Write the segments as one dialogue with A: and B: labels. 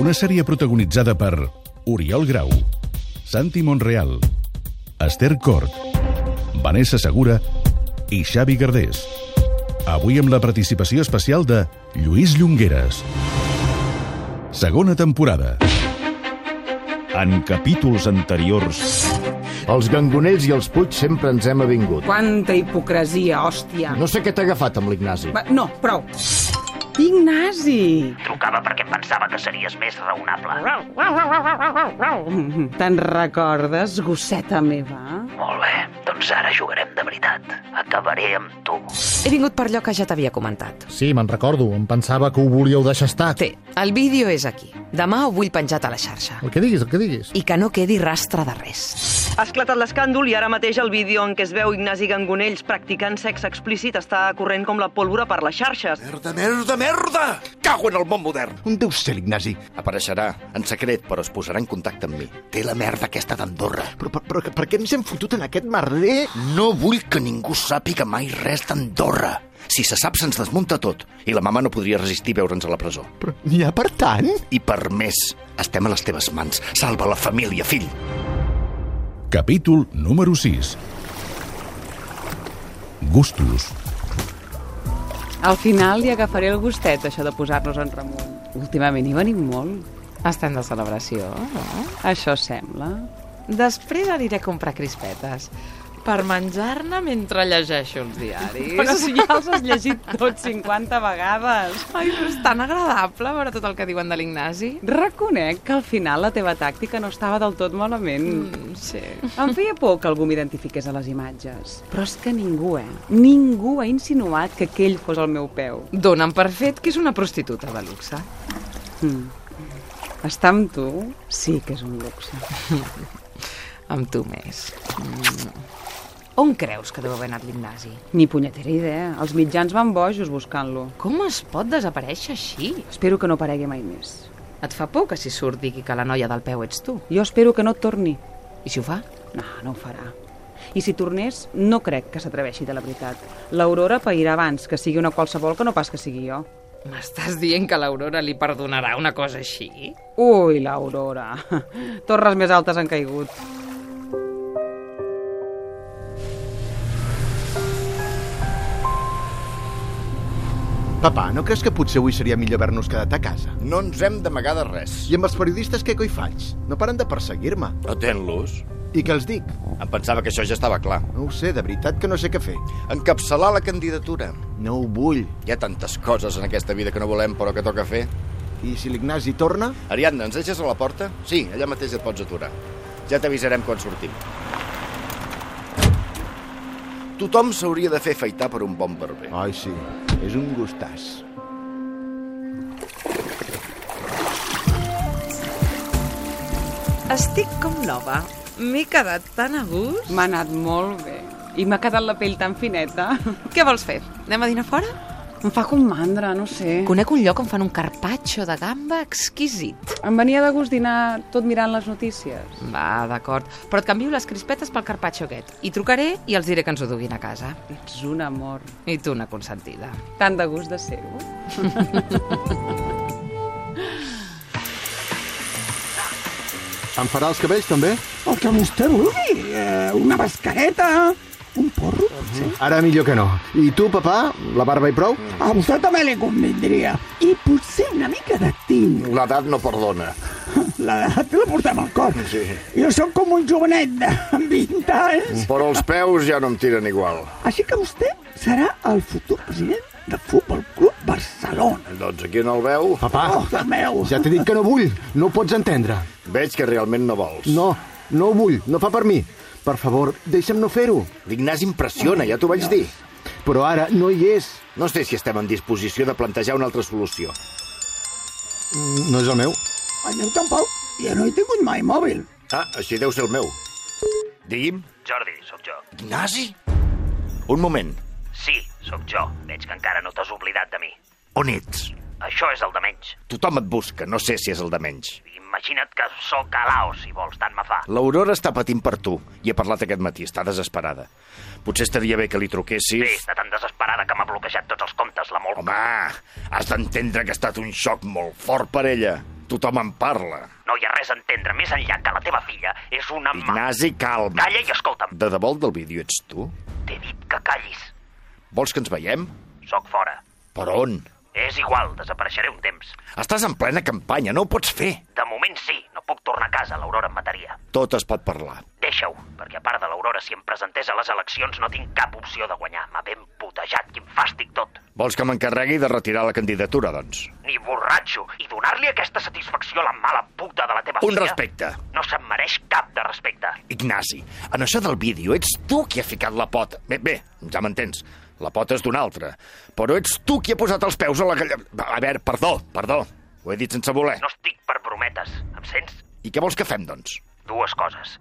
A: Una sèrie protagonitzada per Oriol Grau, Santi Monreal, Esther Cort, Vanessa Segura i Xavi Gardés. Avui amb la participació especial de Lluís Llongueres. Segona temporada.
B: En capítols anteriors...
C: Els gangonells i els puig sempre ens hem avingut.
D: Quanta hipocresia, hòstia.
C: No sé què t'ha agafat amb l'Ignasi.
D: Va, no, prou. Ignasi!
E: Trucava perquè pensava que series més raonable.
D: Mm, Te'n recordes, gosseta meva?
E: Molt bé, doncs ara jugarem de veritat. Acabaré amb tu.
F: He vingut per allò que ja t'havia comentat.
C: Sí, me'n recordo. Em pensava que ho volíeu deixar estar.
F: Té, el vídeo és aquí. Demà ho vull penjat a la xarxa.
C: El que diguis, el que diguis.
F: I que no quedi rastre de res.
G: Ha esclatat l'escàndol i ara mateix el vídeo en què es veu Ignasi Gangonells practicant sexe explícit està corrent com la pólvora per les xarxes.
H: Merda, merda, merda! Cago en el món modern! On deu ser l'Ignasi? Apareixerà, en secret, però es posarà en contacte amb mi. Té la merda aquesta d'Andorra. Però, però, però per què ens hem fotut en aquest merder? No vull que ningú sàpiga mai res d'Andorra. Si se sap, se'ns desmunta tot. I la mama no podria resistir veure'ns a la presó. Però n'hi ha per tant? I per més. Estem a les teves mans. Salva la família, fill.
A: Capítol número 6. Gustos.
D: Al final li agafaré el gustet, això de posar-nos en remunt. Últimament hi venim molt.
F: Estem de celebració, no?
D: Això sembla.
F: Després aniré a comprar crispetes per menjar-ne mentre llegeixo els diaris.
D: Però si ja els has llegit tots 50 vegades.
F: Ai, però és tan agradable veure tot el que diuen de l'Ignasi.
D: Reconec que al final la teva tàctica no estava del tot malament. Mm.
F: Sí.
D: Em feia por que algú m'identifiqués a les imatges. Però és que ningú, eh? Ningú ha insinuat que aquell fos el meu peu.
F: Donen per fet que és una prostituta de luxe.
D: Mm. Estar amb tu sí que és un luxe.
F: Amb tu més. Mm. On creus que deu haver anat l'Ignasi?
D: Ni punyetera idea. Els mitjans van bojos buscant-lo.
F: Com es pot desaparèixer així?
D: Espero que no aparegui mai més.
F: Et fa por que si surt digui que la noia del peu ets tu?
D: Jo espero que no torni.
F: I si ho fa?
D: No, no ho farà. I si tornés, no crec que s'atreveixi de la veritat. L'Aurora pairà abans que sigui una qualsevol que no pas que sigui jo.
F: M'estàs dient que l'Aurora li perdonarà una cosa així?
D: Ui, l'Aurora! Torres més altes han caigut.
I: Papà, no creus que potser avui seria millor haver-nos quedat a casa?
H: No ens hem d'amagar de res.
I: I amb els periodistes què coi faig? No paren de perseguir-me.
H: Atén-los.
I: I què els dic?
H: Em pensava que això ja estava clar.
I: No ho sé, de veritat que no sé què fer.
H: Encapçalar la candidatura.
I: No ho vull.
H: Hi ha tantes coses en aquesta vida que no volem, però que toca fer.
I: I si l'Ignasi torna?
H: Ariadna, ens deixes a la porta? Sí, allà mateix et pots aturar. Ja t'avisarem quan sortim. Tothom s'hauria de fer feitar per un bon barber.
I: Ai, sí, és un gustàs.
J: Estic com nova. M'he quedat tan a gust.
D: M'ha anat molt bé. I m'ha quedat la pell tan fineta.
J: Què vols fer? Anem a dinar fora?
D: Em fa com mandra, no sé.
F: Conec un lloc on fan un carpaccio de gamba exquisit.
D: Em venia de gust dinar tot mirant les notícies.
F: Va, d'acord. Però et canvio les crispetes pel carpaccio aquest. I trucaré i els diré que ens ho duguin a casa.
D: Ets un amor.
F: I tu una consentida.
D: Tant de gust de ser-ho.
I: Em farà els cabells, també?
K: El que vostè vulgui, eh, una mascareta, un porro, potser.
I: Ara millor que no. I tu, papà, la barba i prou?
K: A vostè també li convindria. I potser una mica de tint.
H: L'edat no perdona.
K: L'edat la portem al cor.
H: Sí.
K: Jo sóc com un jovenet de 20 anys,
H: Però els peus ja no em tiren igual.
K: així que vostè serà el futur president del Futbol Club Barcelona.
H: Doncs aquí no el veu.
I: Papà,
K: Oh, Déu meu!
I: ja t'he dit que no vull. No ho pots entendre.
H: Veig que realment no vols.
I: No, no ho vull. No fa per mi. Per favor, deixa'm no fer-ho.
H: L'Ignasi impressiona, ja t'ho vaig dir.
I: Però ara no hi és.
H: No sé si estem en disposició de plantejar una altra solució.
I: No és el meu.
K: El meu tampoc. Ja no he tingut mai mòbil.
H: Ah, així deu ser el meu. Digui'm.
E: Jordi, sóc jo.
H: Ignasi? Un moment.
E: Sí, sóc jo. Veig que encara no t'has oblidat de mi.
H: On ets?
E: Això és el de menys.
H: Tothom et busca, no sé si és el de menys.
E: Imagina't que sóc a Laos, si vols, tant me fa.
H: L'Aurora està patint per tu. I he parlat aquest matí, està desesperada. Potser estaria bé que li truquessis...
E: Bé, està tan desesperada que m'ha bloquejat tots els comptes, la molt...
H: Home, has d'entendre que ha estat un xoc molt fort per ella. Tothom en parla.
E: No hi ha res a entendre, més enllà que la teva filla és una... ma-
H: Ignasi, calma.
E: Calla i escolta'm.
H: De debò el del vídeo ets tu?
E: T'he dit que callis.
H: Vols que ens veiem?
E: Sóc fora.
H: Per on?
E: És igual, desapareixeré un temps.
H: Estàs en plena campanya, no ho pots fer.
E: De moment sí, no puc tornar a casa, l'Aurora em mataria.
H: Tot es pot parlar.
E: Deixa-ho, perquè a part de l'Aurora, si em presentés a les eleccions no tinc cap opció de guanyar. M'ha ben putejat, quin fàstic tot.
H: Vols que m'encarregui de retirar la candidatura, doncs?
E: Ni borratxo, i donar-li aquesta satisfacció a la mala puta de la teva
H: Un
E: filla...
H: respecte.
E: No se'n mereix cap de respecte.
H: Ignasi, en això del vídeo ets tu qui ha ficat la pota. Bé, bé, ja m'entens. La pota és d'un altre. Però ets tu qui ha posat els peus a la galla... A veure, perdó, perdó. Ho he dit sense voler.
E: No estic per brometes, em sents?
H: I què vols que fem, doncs?
E: Dues coses.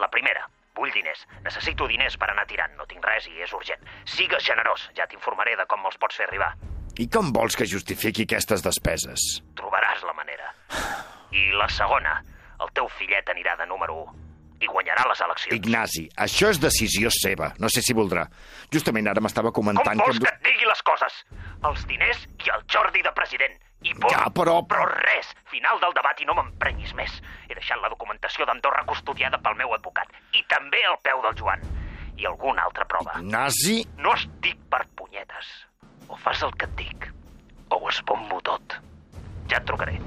E: La primera, vull diners. Necessito diners per anar tirant, no tinc res i és urgent. Sigues generós, ja t'informaré de com me'ls pots fer arribar.
H: I com vols que justifiqui aquestes despeses?
E: Trobaràs la manera. I la segona, el teu fillet anirà de número 1 i guanyarà les eleccions.
H: Ignasi, això és decisió seva. No sé si voldrà. Justament ara m'estava
E: Com
H: comentant
E: vols que
H: que...
E: et digui les coses? Els diners i el Jordi de president. I punt.
H: Ja, però-
E: Però res, final del debat i no m'emprenyis més. He deixat la documentació d'Andorra custodiada pel meu advocat. I també el peu del Joan. I alguna altra prova.
H: Ignasi...
E: No estic per punyetes. O fas el que et dic, o ho esbombo tot. Ja et trucaré.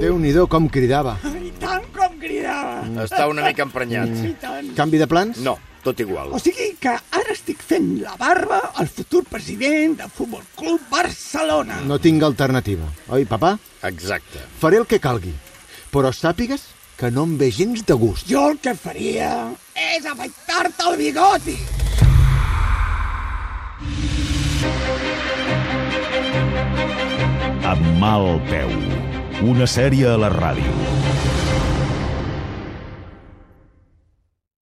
L: Déu-n'hi-do com cridava.
K: I tant com cridava!
H: Està una mica emprenyat.
K: I tant.
L: Canvi de plans?
H: No, tot igual.
K: O sigui que ara estic fent la barba al futur president del Futbol Club Barcelona.
L: No tinc alternativa, oi, papà?
H: Exacte.
L: Faré el que calgui, però sàpigues que no em ve gens de gust.
K: Jo el que faria és afaitar-te el bigoti.
B: Amb mal peu. Una sèrie a la ràdio.